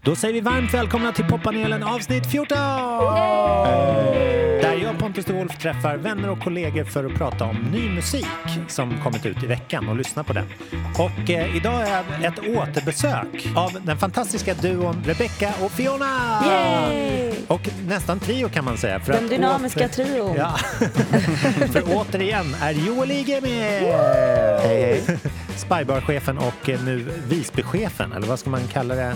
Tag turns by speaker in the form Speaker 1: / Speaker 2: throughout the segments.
Speaker 1: Då säger vi varmt välkomna till poppanelen avsnitt 14! Där jag, Pontus de Wolf, träffar vänner och kollegor för att prata om ny musik som kommit ut i veckan och lyssna på den. Och eh, idag är ett återbesök av den fantastiska duon Rebecca och Fiona!
Speaker 2: Yay!
Speaker 1: Och nästan trio kan man säga. För
Speaker 2: Den
Speaker 1: att
Speaker 2: dynamiska trion.
Speaker 1: Ja. För återigen är Joel Ige med!
Speaker 3: Hej, hej.
Speaker 1: Spybar-chefen och eh, nu Visby-chefen, eller vad ska man kalla det?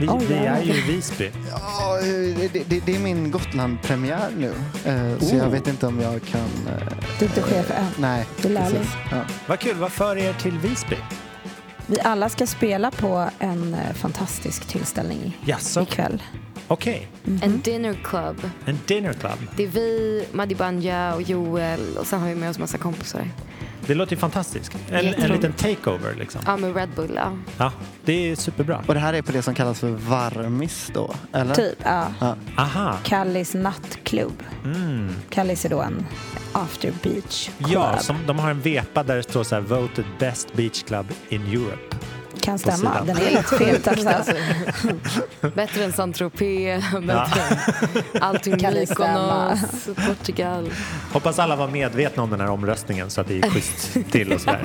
Speaker 1: Vi,
Speaker 2: Oj,
Speaker 1: vi
Speaker 2: ja.
Speaker 1: är ju i Visby.
Speaker 3: Ja, eh, det, det, det är min Gotland-premiär nu. Eh, Så
Speaker 1: Oh.
Speaker 3: jag vet inte om jag kan... eh,
Speaker 2: Du är inte chef eh. för ön.
Speaker 3: Nej,
Speaker 2: Du är lärling.
Speaker 3: precis. Ja.
Speaker 1: Vad kul, vad för er till Visby?
Speaker 2: Vi alla ska spela på en eh, fantastisk tillställning
Speaker 1: Jaså?
Speaker 2: ikväll.
Speaker 1: Okej,
Speaker 4: En dinner club.
Speaker 1: en dinner club.
Speaker 4: Det är vi, Madi Banja och Joel och sen har vi med oss massa kompisar.
Speaker 1: Det låter ju fantastiskt. En, en
Speaker 4: Jätteroligt.
Speaker 1: liten takeover liksom.
Speaker 4: Ja, med Red Bull. Ja.
Speaker 1: Ja, det är superbra.
Speaker 3: Och det här är på det som kallas för varmis då, eller?
Speaker 2: Typ, ja.
Speaker 3: Ja.
Speaker 1: Aha, mm.
Speaker 2: Kallis nattklubb. Kallis är då en after beach club.
Speaker 1: ja, som, de har en vepa där det står så här voted best beach club in Europe.
Speaker 2: kan
Speaker 1: på
Speaker 2: stämma.
Speaker 1: sidan.
Speaker 2: Den är lite fet alltså.
Speaker 4: Bättre än Saint Tropez, bättre än allting
Speaker 2: Kan det stämma?
Speaker 4: Mykonos, Portugal.
Speaker 1: Hoppas alla var medvetna om den här omröstningen så att det gick schysst till och sådär.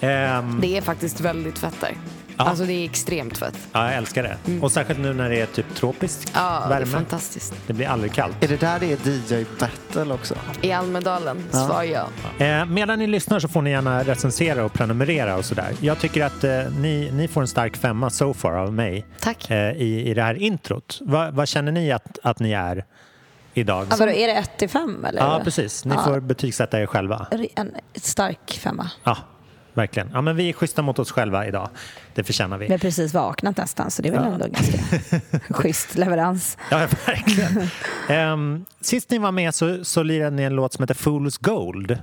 Speaker 1: Ehm,
Speaker 4: Det är faktiskt väldigt fett där.
Speaker 1: Ja.
Speaker 4: Alltså det är extremt fett.
Speaker 1: ja, jag älskar det. Och särskilt nu när det är typ tropisk
Speaker 4: Mm. Ja, det är
Speaker 1: värme. Det,
Speaker 4: fantastiskt.
Speaker 1: blir aldrig kallt.
Speaker 3: Är det där det är DJ-battle också?
Speaker 4: I Almedalen, svar ja.
Speaker 1: Eh, medan ni lyssnar så får ni gärna recensera och prenumerera och sådär. Jag tycker att eh, ni, ni får en stark femma so far av mig
Speaker 4: Tack.
Speaker 1: eh, i, i det här introt. Va, vad känner ni att, att ni är idag?
Speaker 2: Ja, vadå, är det 1 till 5 eller?
Speaker 1: ja, precis. Ni
Speaker 2: Ja.
Speaker 1: får betygsätta er själva.
Speaker 2: En stark femma.
Speaker 1: Ja, verkligen. Ja, men vi är schyssta mot oss själva idag. Det förtjänar vi.
Speaker 2: Vi har precis vaknat nästan så det är väl ändå en ganska schysst leverans.
Speaker 1: Ja, verkligen. Ehm, sist ni var med så, så lirade ni en låt som heter Fool's Gold. Eh,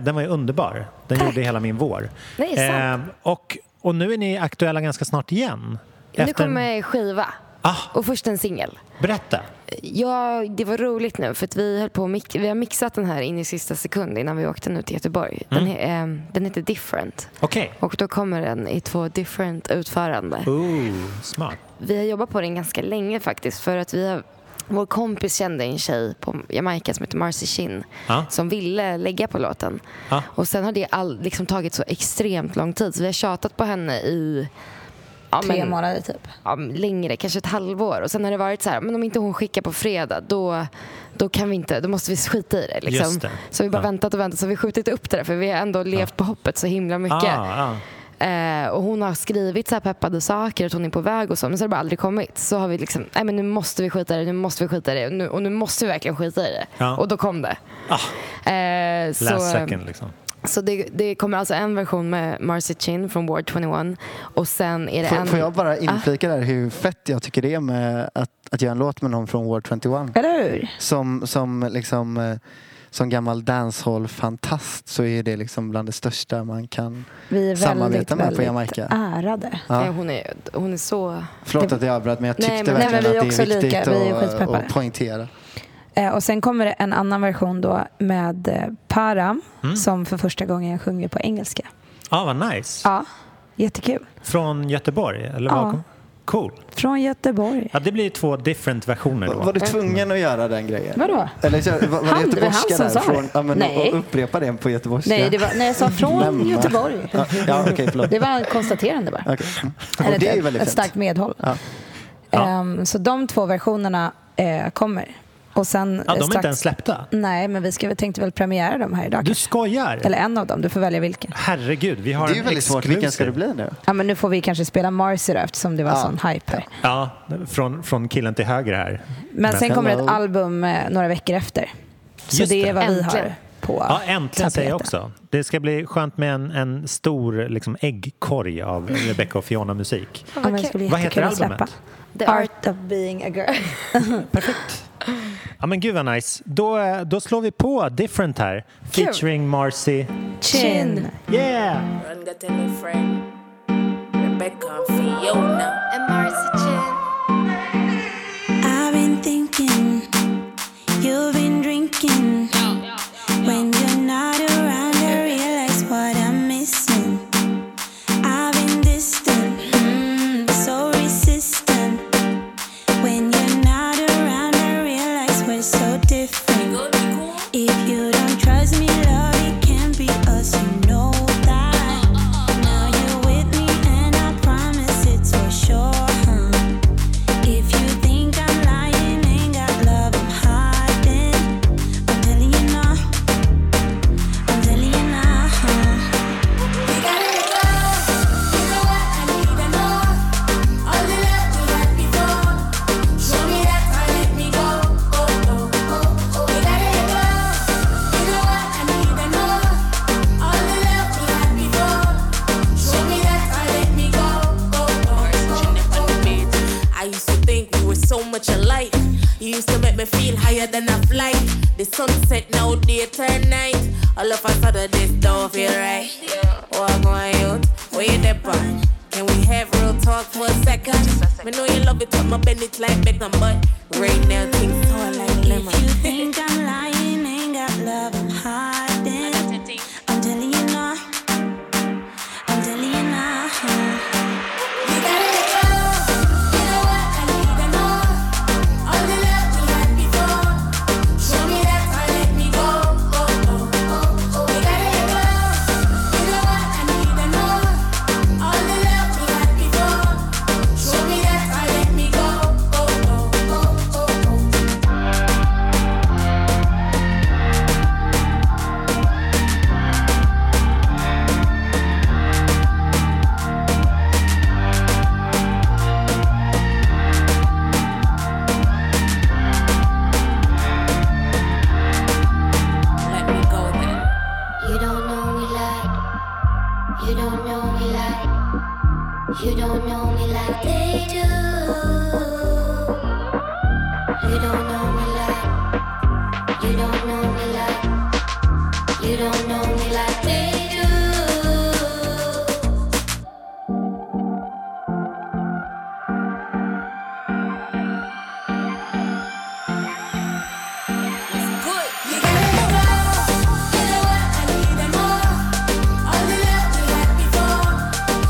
Speaker 1: den var ju underbar. Den gjorde hela min vår.
Speaker 4: Nej, sant.
Speaker 1: Ehm, och, och nu är ni aktuella ganska snart igen.
Speaker 4: Nu
Speaker 1: Efter-
Speaker 4: kommer skiva.
Speaker 1: Ah.
Speaker 4: Och först en singel.
Speaker 1: Berätta.
Speaker 4: Ja, det var roligt nu för att vi höll på och mix- vi har mixat den här in i sista sekund innan vi åkte nu till Göteborg.
Speaker 1: Mm.
Speaker 4: Den, he- ehm, den heter Different
Speaker 1: Okej.
Speaker 4: och då kommer den i två different utförande.
Speaker 1: Ooh, smart.
Speaker 4: Vi har jobbat på den ganska länge faktiskt för att vi har vår kompis kände en tjej på Jamaica som heter Marcy Chin
Speaker 1: Ja.
Speaker 4: som ville lägga på låten.
Speaker 1: Ja.
Speaker 4: Och sen har det all, liksom tagit så extremt lång tid så vi har tjatat på henne i ja,
Speaker 2: Tre
Speaker 4: men-
Speaker 2: månader typ.
Speaker 4: ja, längre, kanske ett halvår. Och sen har det varit så här, men om inte hon skickar på fredag då, då kan vi inte, då måste vi skita i det. Liksom.
Speaker 1: Just det.
Speaker 4: Så vi bara
Speaker 1: Ja.
Speaker 4: väntat och väntat, så har vi skjutit upp det där för vi har ändå levt på hoppet så himla mycket.
Speaker 1: Ah, ah.
Speaker 4: Eh, och hon har skrivit så här peppade saker, att hon är på väg och så, men så har det bara aldrig kommit. Så har vi liksom, nej men nu måste vi skita i det, nu måste vi skita i det och nu, och nu måste vi verkligen skita i det.
Speaker 1: Ja.
Speaker 4: Och då kom det.
Speaker 1: Ah,
Speaker 4: Eh, så-
Speaker 1: last second liksom.
Speaker 4: så det, det kommer alltså en version med Marcy Chin från Ward 21 och sen är det
Speaker 3: Får,
Speaker 4: en...
Speaker 3: får jag bara inflika där hur fett jag tycker det är med att, att göra en låt med någon från Ward 21?
Speaker 2: Eller hur?
Speaker 3: Som, som, liksom, eh, som gammal dancehall-fantast så är det liksom bland det största man kan...
Speaker 2: Vi är väldigt,
Speaker 3: Samarbeta med på
Speaker 2: väldigt
Speaker 3: Jamaica.
Speaker 2: ärade.
Speaker 3: Ja.
Speaker 4: Nej, hon, är, hon är så...
Speaker 3: Förlåt
Speaker 2: Det-
Speaker 3: att jag avbröt men jag
Speaker 4: Nej,
Speaker 3: tyckte
Speaker 4: men-
Speaker 2: nej,
Speaker 3: verkligen
Speaker 2: men vi är
Speaker 3: att det är
Speaker 2: också
Speaker 3: viktigt
Speaker 2: lika. Vi är
Speaker 3: att,
Speaker 2: skitpeppade.
Speaker 3: att poängtera.
Speaker 2: Eh, och sen kommer det en annan version då med eh, Param som för första gången sjunger på engelska.
Speaker 1: Ah, vad nice.
Speaker 2: Ja, jättekul.
Speaker 1: Från Göteborg? Eller var
Speaker 2: Ja.
Speaker 1: kom- Cool.
Speaker 2: Från Göteborg.
Speaker 1: Ja, det blir två different versioner då.
Speaker 3: Var du tvungen att göra den grejen?
Speaker 2: Mm. Vadå?
Speaker 3: Eller kör, var,
Speaker 2: Han,
Speaker 3: var det
Speaker 2: det var han
Speaker 3: göteborgska
Speaker 2: som sa det.
Speaker 3: därifrån? Ja, men,
Speaker 2: Nej.
Speaker 3: Och upprepa den på göteborgska?
Speaker 2: Nej, det var, nej, jag sa
Speaker 3: Lämna.
Speaker 2: från Göteborg.
Speaker 3: Ja, ja okej, förlåt.
Speaker 2: Det var ett konstaterande bara.
Speaker 3: Okej.
Speaker 2: Eller
Speaker 3: Och det är ju
Speaker 2: ett,
Speaker 3: väldigt
Speaker 2: ett
Speaker 3: fint.
Speaker 2: starkt medhåll.
Speaker 3: Ja.
Speaker 2: Ehm, så de två versionerna eh, kommer. Och sen
Speaker 1: Ja,
Speaker 2: eh,
Speaker 1: de är
Speaker 2: strax-
Speaker 1: inte ens släppta.
Speaker 2: Nej, men vi ska, vi tänkte väl premiera dem här idag.
Speaker 1: Du
Speaker 2: kanske.
Speaker 1: skojar?
Speaker 2: Eller en av dem, du får välja vilken.
Speaker 1: Herregud, vi har
Speaker 3: Det är ju
Speaker 1: en
Speaker 3: väldigt svårt. Vilken ska det
Speaker 1: exclusive.
Speaker 3: bli nu?
Speaker 2: Ja, men nu får vi kanske spela Marcy då eftersom det var
Speaker 3: Ja.
Speaker 2: sån hype här.
Speaker 1: Ja, från, från killen till höger här.
Speaker 2: Men sen kommer
Speaker 3: hello.
Speaker 2: ett album eh, några veckor efter. Så
Speaker 1: Just
Speaker 2: det
Speaker 1: det.
Speaker 2: är vad vi har
Speaker 4: Äntligen.
Speaker 2: på
Speaker 1: Ja, äntligen säger jag
Speaker 2: tapeten.
Speaker 1: också. Det ska bli skönt med en, en stor liksom, äggkorg av Rebecca och Fiona-musik.
Speaker 2: Ja, men det ska bli
Speaker 1: Vad heter
Speaker 2: jättekul att
Speaker 1: albumet?
Speaker 2: släppa.
Speaker 4: The
Speaker 2: Art of being a girl.
Speaker 1: Perfekt. Ja, men gud vad nice. Då, eh, då slår vi på Different här.
Speaker 2: Kul.
Speaker 1: Featuring Marcy.
Speaker 2: Chin.
Speaker 1: Yeah!
Speaker 5: Run got a new friend, Rebecca and Fiona.
Speaker 4: And Marcy Chin.
Speaker 6: I've been thinking, you've been drinking. When you're not around, I realize what I'm missing. I've been distant, mm, so Oh,
Speaker 5: much you like. You used to make me feel higher than a flight. The sunset now day turn night. All of a sudden this don't feel right. What going Oh, youth? Where you dep on? Can we have real talk for a second? Me know you love it when my bend it like Beckham, but right now things sour like lemon.
Speaker 6: If you think I'm lying, ain't got love, I'm hiding. I'm telling you not. I'm telling you not.
Speaker 5: You gotta let go. You know what? I need and more. All the love we had before. Show me that and let me go. Oh oh oh oh. You gotta let go. You know what? I need and more. All the love we had before. Show me that and let me go. Oh oh oh oh oh. Let me go then.
Speaker 7: You don't know me like, you don't know me like, you don't know me like they do. You don't know me like, you don't know me like, you don't know me like they do.
Speaker 5: You gotta let go. You know what? I need and more. All the love we had before.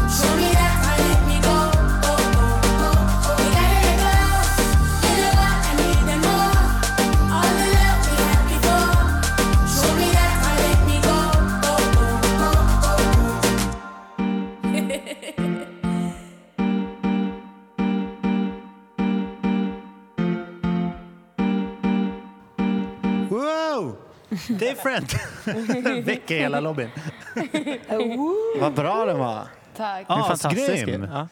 Speaker 5: Show me that and let me go. Oh oh oh oh. You gotta let go. You know what? I need and more. All the love we had before. Show me that and let me go. Oh oh oh oh oh.
Speaker 1: Wow! Different! Väcker hela lobbyn.
Speaker 3: Vad bra den var.
Speaker 4: Tack.
Speaker 3: Den är fantastisk.
Speaker 1: Asgrym.
Speaker 3: Ja.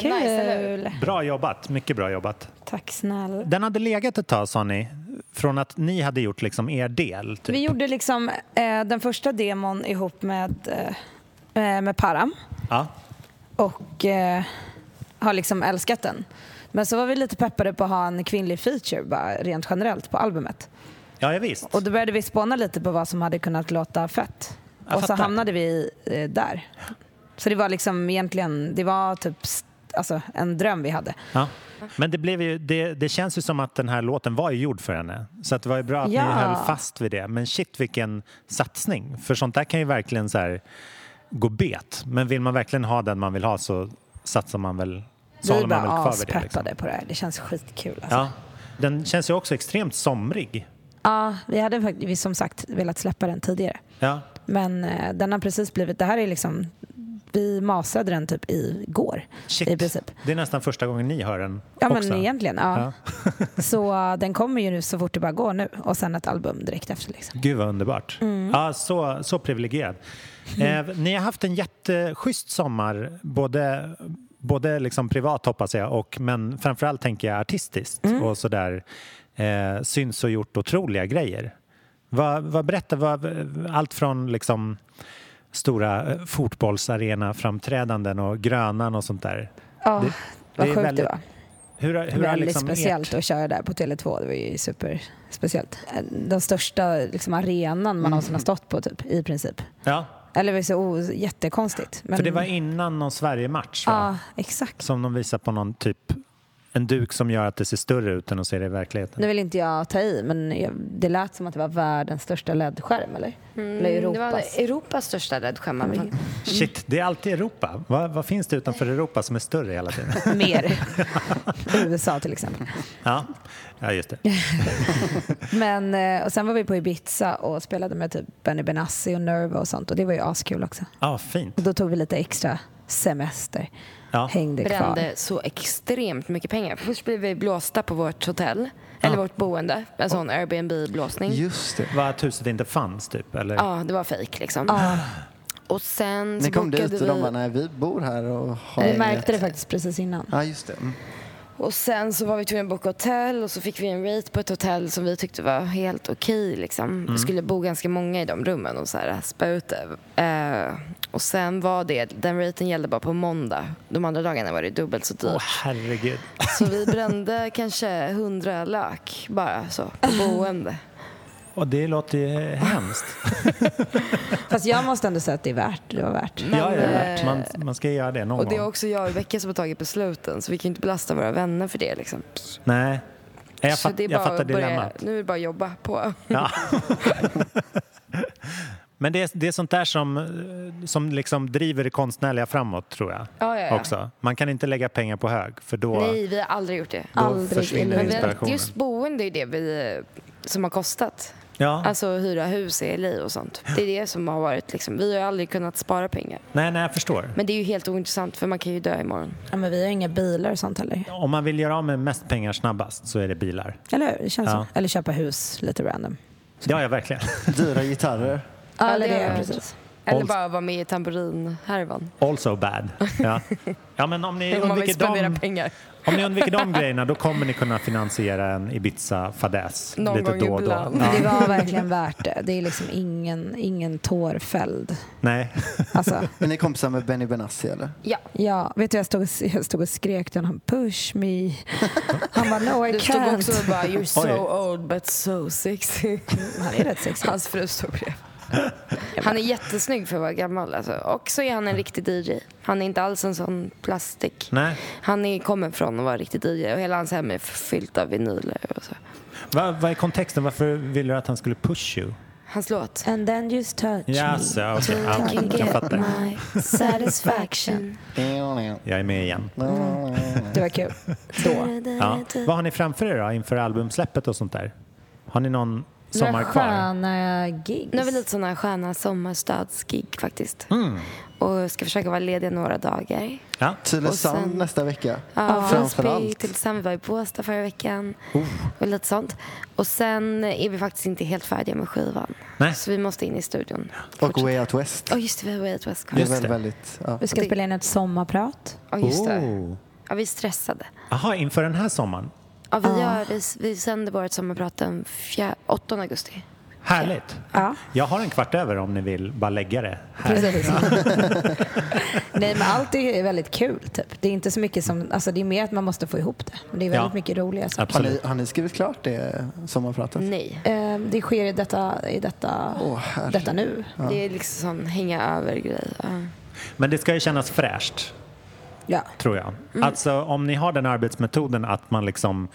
Speaker 2: Kul!
Speaker 1: Bra jobbat, mycket bra jobbat.
Speaker 2: Tack snälla.
Speaker 1: Den hade legat ett tag sa ni, från att ni hade gjort liksom er del. Typ.
Speaker 2: Vi gjorde liksom eh, den första demon ihop med, eh, eh, med Param
Speaker 1: Ja.
Speaker 2: och eh, har liksom älskat den. Men så var vi lite peppade på att ha en kvinnlig feature bara, rent generellt på albumet.
Speaker 1: Ja, ja, visst.
Speaker 2: Och då började vi spåna lite på vad som hade kunnat låta fett.
Speaker 1: Jag
Speaker 2: och så
Speaker 1: fattar.
Speaker 2: hamnade vi eh, där. Så det var liksom egentligen, det var typ s- alltså, en dröm vi hade.
Speaker 1: Ja. Men det, blev ju, det, det känns ju som att den här låten var ju gjord för henne. Så att det var ju bra att
Speaker 2: Ja.
Speaker 1: ni höll fast vid det. Men shit vilken satsning. För sånt där kan ju verkligen så här gå bet. Men vill man verkligen ha den man vill ha så satsar man väl, så
Speaker 2: Vi
Speaker 1: håller man väl
Speaker 2: bara
Speaker 1: kvar vid det. Liksom.
Speaker 2: aspeppade på det här. Det känns skitkul. Alltså.
Speaker 1: Ja. Den känns ju också extremt somrig.
Speaker 2: Ja, vi hade fakt- vi som sagt velat släppa den tidigare.
Speaker 1: Ja.
Speaker 2: Men eh, den har precis blivit, det här är liksom, vi masade den typ igår.
Speaker 1: Shit.
Speaker 2: I princip.
Speaker 1: Det är nästan första gången ni hör den
Speaker 2: Ja
Speaker 1: också.
Speaker 2: men egentligen, ja. så eh, den kommer ju nu så fort det bara går nu och sen ett album direkt efter. Liksom.
Speaker 1: Gud vad underbart.
Speaker 2: Mm.
Speaker 1: Ja, så, så privilegierad. Eh, ni har haft en jätteschysst sommar, både, både liksom privat hoppas jag, och, men framförallt tänker jag artistiskt
Speaker 2: Mm.
Speaker 1: och sådär. Eh, syns och gjort otroliga grejer. Vad, vad berätta, vad, allt från liksom stora eh, fotbollsarena-framträdanden och Grönan och sånt där.
Speaker 2: Ja,
Speaker 1: Det-
Speaker 2: vad
Speaker 1: det är
Speaker 2: sjukt
Speaker 1: väldigt-
Speaker 2: det var.
Speaker 1: Hur, har- hur har
Speaker 2: Väldigt
Speaker 1: liksom ert
Speaker 2: speciellt att köra där på Tele2. Det var ju superspeciellt. Eh, Den största liksom, arenan
Speaker 1: Mm.
Speaker 2: man någonsin har stått på typ, i princip.
Speaker 1: Ja,
Speaker 2: Eller det var så o- jättekonstigt. Men,
Speaker 1: för det var innan någon Sverige-match va?
Speaker 2: Ja, exakt.
Speaker 1: Som de visar på någon typ en duk som gör att det ser större ut än att se det i verkligheten.
Speaker 2: Nu vill inte jag ta i, men jag- det lät som att det var världens största LED-skärm, eller? eller
Speaker 4: Mm, Det
Speaker 2: Europas.
Speaker 4: var Europas största räddskärm.
Speaker 1: Shit, det är alltid Europa. Vad, vad finns det utanför Europa som är större hela tiden?
Speaker 2: Mer. USA till exempel.
Speaker 1: Ja, ja just det.
Speaker 2: Men, eh, och sen var vi på Ibiza och spelade med typ Benny Benassi och Nerva och sånt och det var ju askul också.
Speaker 1: Ja, fint.
Speaker 2: Och då tog vi lite extra semester.
Speaker 1: Ja.
Speaker 2: Hängde kvar.
Speaker 4: brände så extremt mycket pengar. Först blev vi blåsta på vårt hotell, eller vårt boende, alltså en sån
Speaker 2: Mm.
Speaker 4: Airbnb-blåsning.
Speaker 3: Just det.
Speaker 1: Var att huset inte fanns typ? Eller?
Speaker 4: Ja, det var fejk liksom. Och sen så
Speaker 3: Ni kom
Speaker 4: bokade
Speaker 3: dit
Speaker 4: vi...
Speaker 3: och de bara, nej vi bor här och har...
Speaker 2: Vi märkte det faktiskt precis innan.
Speaker 3: Ja, just det. Mm.
Speaker 4: Och sen så var vi tvungna att boka hotell och så fick vi en rate på ett hotell som vi tyckte var helt okej. liksom. Vi skulle bo ganska många i de rummen och så här, spä ut det. Eh, och sen var det, den raten gällde bara på måndag. De andra dagarna var det dubbelt så dyrt.
Speaker 1: Åh herregud.
Speaker 4: Så vi brände kanske 100 lök bara så på boende.
Speaker 1: Och det låter ju hemskt.
Speaker 2: Fast jag måste ändå säga att det är värt. Det var värt.
Speaker 1: ja, ja,
Speaker 4: eh,
Speaker 1: ja. Man, man ska ju göra det någon
Speaker 4: Och det är
Speaker 1: gång.
Speaker 4: också jag och Rebecka som har tagit besluten så vi kan ju inte belasta våra vänner för det. Liksom.
Speaker 1: Nej. Nej, Jag,
Speaker 4: så
Speaker 1: fatt,
Speaker 4: det är
Speaker 1: jag
Speaker 4: bara
Speaker 1: fattar
Speaker 4: att börja-
Speaker 1: dilemmat.
Speaker 4: Nu är det bara att jobba på.
Speaker 1: Ja. Men det är, det är sånt där som, eh, som liksom driver det konstnärliga framåt, tror jag.
Speaker 4: Ja, ja, ja.
Speaker 1: Också. Man kan inte lägga pengar på hög, för då...
Speaker 4: Nej, vi har aldrig gjort det.
Speaker 1: Då
Speaker 2: Aldrig
Speaker 1: försvinner
Speaker 2: innan.
Speaker 4: Men vi har,
Speaker 1: inspirationen.
Speaker 4: just boende är det vi, som har kostat.
Speaker 1: Ja.
Speaker 4: Alltså hyra hus i LA och sånt. Det är det som har varit liksom. Vi har ju aldrig kunnat spara pengar.
Speaker 1: Nej, nej, jag förstår.
Speaker 4: Men det är ju helt ointressant för man kan ju dö imorgon.
Speaker 2: Ja, men vi har inga bilar och sånt heller.
Speaker 1: Om man vill göra av med mest pengar snabbast så är det bilar.
Speaker 2: Eller hur? Det känns
Speaker 1: Ja.
Speaker 2: så. Eller köpa hus lite random.
Speaker 1: Det har jag verkligen.
Speaker 3: Dyra gitarrer.
Speaker 2: Ja,
Speaker 4: Ja,
Speaker 2: eller
Speaker 4: det har
Speaker 2: det,
Speaker 4: jag
Speaker 2: precis.
Speaker 4: Eller
Speaker 1: Old-
Speaker 4: bara vara med i tamburinhärvan.
Speaker 1: Also bad. Ja, ja men om ni,
Speaker 4: Om man vill
Speaker 1: undviker
Speaker 4: spendera
Speaker 1: de,
Speaker 4: pengar.
Speaker 1: om ni undviker de grejerna då kommer ni kunna finansiera en Ibiza-fadäs
Speaker 4: Någon
Speaker 1: lite
Speaker 4: gång
Speaker 1: då och då.
Speaker 4: ibland.
Speaker 1: Ja,
Speaker 2: Det var verkligen värt det. Det är liksom ingen, ingen tår fälld.
Speaker 1: nej.
Speaker 2: Alltså,
Speaker 3: Men ni är kompisar med Benny Benassi eller?
Speaker 4: Ja.
Speaker 2: ja, vet du, jag stod, jag stod och skrek till honom, push me. Han bara, no I
Speaker 4: Du stod också
Speaker 2: can't.
Speaker 4: och bara you're so
Speaker 1: Oj.
Speaker 4: old but so sexy.
Speaker 2: Han är rätt sexig.
Speaker 4: Hans fru stod bredvid. Han är jättesnygg för att vara gammal alltså. Och så är han
Speaker 1: Mm.
Speaker 4: en riktig DJ. Han är inte alls en sån plastik.
Speaker 1: nej.
Speaker 4: Han är, kommer från att vara riktigt DJ och hela hans hem är fyllt av vinyler och så.
Speaker 1: Vad vad är kontexten? Varför ville du att han skulle push you?
Speaker 4: Hans låt.
Speaker 2: And then just touch
Speaker 1: Yes,
Speaker 2: me.
Speaker 1: okej. Ja, jag fattar.
Speaker 4: my satisfaction.
Speaker 1: Jag är med igen.
Speaker 2: Det var kul. Då.
Speaker 1: Ja. Vad har ni framför er då inför albumsläppet och sånt där? Har ni någon sommar
Speaker 2: Några
Speaker 1: kvar?
Speaker 2: sköna gigs.
Speaker 4: Nu har vi lite sådana sköna sommarstödsgig faktiskt.
Speaker 1: Mm.
Speaker 4: Och ska försöka vara lediga några dagar.
Speaker 1: Ja.
Speaker 3: Tylösand
Speaker 4: Och sen-
Speaker 3: nästa vecka.
Speaker 4: Ja, Osby,
Speaker 3: Framförallt.
Speaker 4: tillsammans. Vi var i Båstad förra veckan.
Speaker 1: Oh.
Speaker 4: Och lite sånt. Och sen är vi faktiskt inte helt färdiga med skivan.
Speaker 1: Nej.
Speaker 4: Så vi måste in i studion.
Speaker 3: Och Way Out West.
Speaker 4: Ja just det, vi har Way Out West kvar.
Speaker 3: Det är
Speaker 1: Just
Speaker 3: väl
Speaker 1: det.
Speaker 3: väldigt... Ja.
Speaker 2: Vi ska spela in ett sommarprat.
Speaker 4: Ja, just det.
Speaker 1: Oh.
Speaker 4: Ja, vi är stressade.
Speaker 1: Jaha, inför den här sommaren?
Speaker 4: Ja, vi, gör, vi, vi sänder vårt sommarprat den fjär- 8 augusti.
Speaker 1: Härligt.
Speaker 2: Ja.
Speaker 1: Jag har en kvart över om ni vill bara lägga det här.
Speaker 2: Precis. Nej men allt är väldigt kul typ. Det är inte så mycket som, alltså det är mer att man måste få ihop det. Men det är väldigt
Speaker 1: Ja.
Speaker 2: mycket roliga saker.
Speaker 3: Har,
Speaker 1: Absolut.
Speaker 3: ni, har ni skrivit klart det sommarpratet?
Speaker 4: Nej.
Speaker 2: Eh, Det sker i detta, i detta,
Speaker 3: Åh, herregud.
Speaker 2: detta nu.
Speaker 4: Det är liksom sån hänga över-grej. Ja.
Speaker 1: Men det ska ju kännas fräscht,
Speaker 2: Ja.
Speaker 1: tror jag.
Speaker 2: Mm.
Speaker 1: Alltså om ni har den arbetsmetoden att man liksom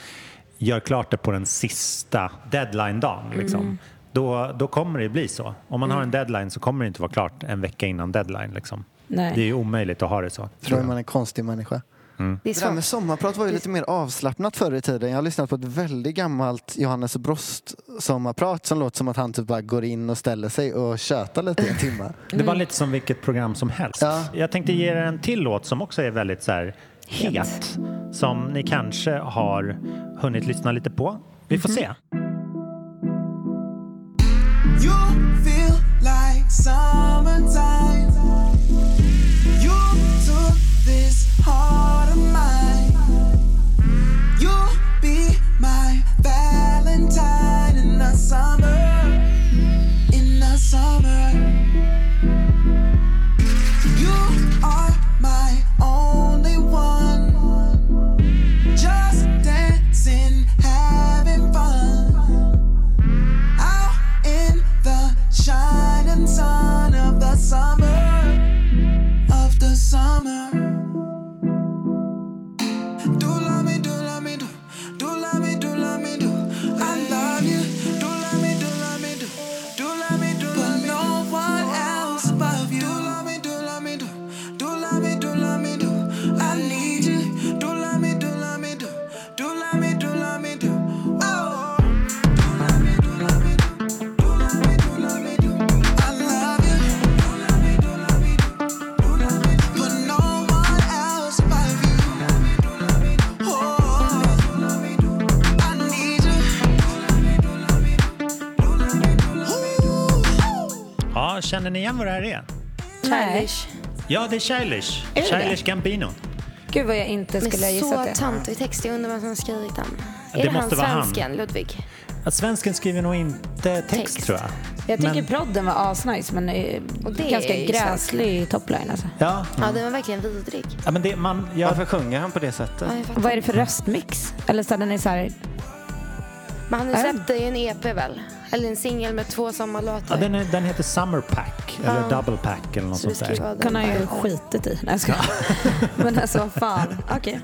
Speaker 1: gör klart det på den sista deadline-dagen,
Speaker 2: Mm.
Speaker 1: liksom, då, då kommer det bli så. Om man har en deadline så kommer det inte vara klart en vecka innan deadline. Liksom.
Speaker 2: Nej.
Speaker 1: Det är ju omöjligt att ha det så.
Speaker 3: Tror man är en konstig människa.
Speaker 4: Det är
Speaker 3: Det där med
Speaker 4: svårt.
Speaker 3: sommarprat var ju lite mer avslappnat förr i tiden. Jag har lyssnat på ett väldigt gammalt Johannes Brost sommarprat som låter som att han typ bara går in och ställer sig och tjötar lite i en timme.
Speaker 1: Det
Speaker 2: Mm.
Speaker 1: var lite som vilket program som helst.
Speaker 3: Ja.
Speaker 1: Jag tänkte ge er en till låt som också är väldigt så här het. Som ni kanske har hunnit lyssna lite på. Vi
Speaker 2: Mm-hmm.
Speaker 1: får se.
Speaker 8: You feel like summertime. You took this heart of mine. You'll be my Valentine in the summer. In the summer. You are my only one. Just dancing, having fun out in the shining sun of the summer of the summer. Do love me, do love me, do do love me, do love me, do. I love you. Do love me, do love me, do do love me, do love me. But no one else above you. Do love me, do love me, do do love me, do love me, do. I need you. Do love me, do love me, do do love me, do love me, do. Oh. Do love me, do love me, do. Do love me, do love me, do. I love you. Do love me, do love me, do. Do love me, do. But no one else above you. Do love me, do love me, do. Oh, do love me, do. I need you. Do love me, do love me, do. Do love me, do love me, do. Ooh.
Speaker 1: Ja, känner ni igen vad det här är?
Speaker 2: Nej.
Speaker 1: Ja, det är Childish.
Speaker 2: Är det
Speaker 1: Childish Gambino.
Speaker 2: Gud vad jag inte skulle ha
Speaker 4: Men så
Speaker 2: gissat det.
Speaker 4: töntig text, jag undrar vem som har skrivit den.
Speaker 1: Det
Speaker 4: är det han
Speaker 1: måste vara han.
Speaker 4: svensken, Ludvig?
Speaker 1: Att svensken skriver nog inte text,
Speaker 4: Text.
Speaker 1: tror jag.
Speaker 2: Jag tycker
Speaker 1: Men-
Speaker 2: prodden var asnice men eh,
Speaker 4: Och det
Speaker 2: ganska
Speaker 4: är ju
Speaker 2: gräslig topline alltså.
Speaker 1: Ja,
Speaker 4: Ja, den var verkligen vidrig.
Speaker 1: ja men det, man, jag,
Speaker 3: Varför sjunger han på det sättet?
Speaker 4: Ja, jag fattar.
Speaker 2: Vad är det för röstmix? Eller så här, den är så här,
Speaker 4: Men han
Speaker 2: Är
Speaker 4: släppte ju en EP väl? Eller en singel med två samma låtar.
Speaker 1: ja, den, är, den heter Summer Pack, eller Double Pack eller något
Speaker 4: Så det
Speaker 1: sånt där.
Speaker 4: skulle vara den.
Speaker 2: kan han ju skitit i. Nej jag skojar. Men alltså vad fan. Okej.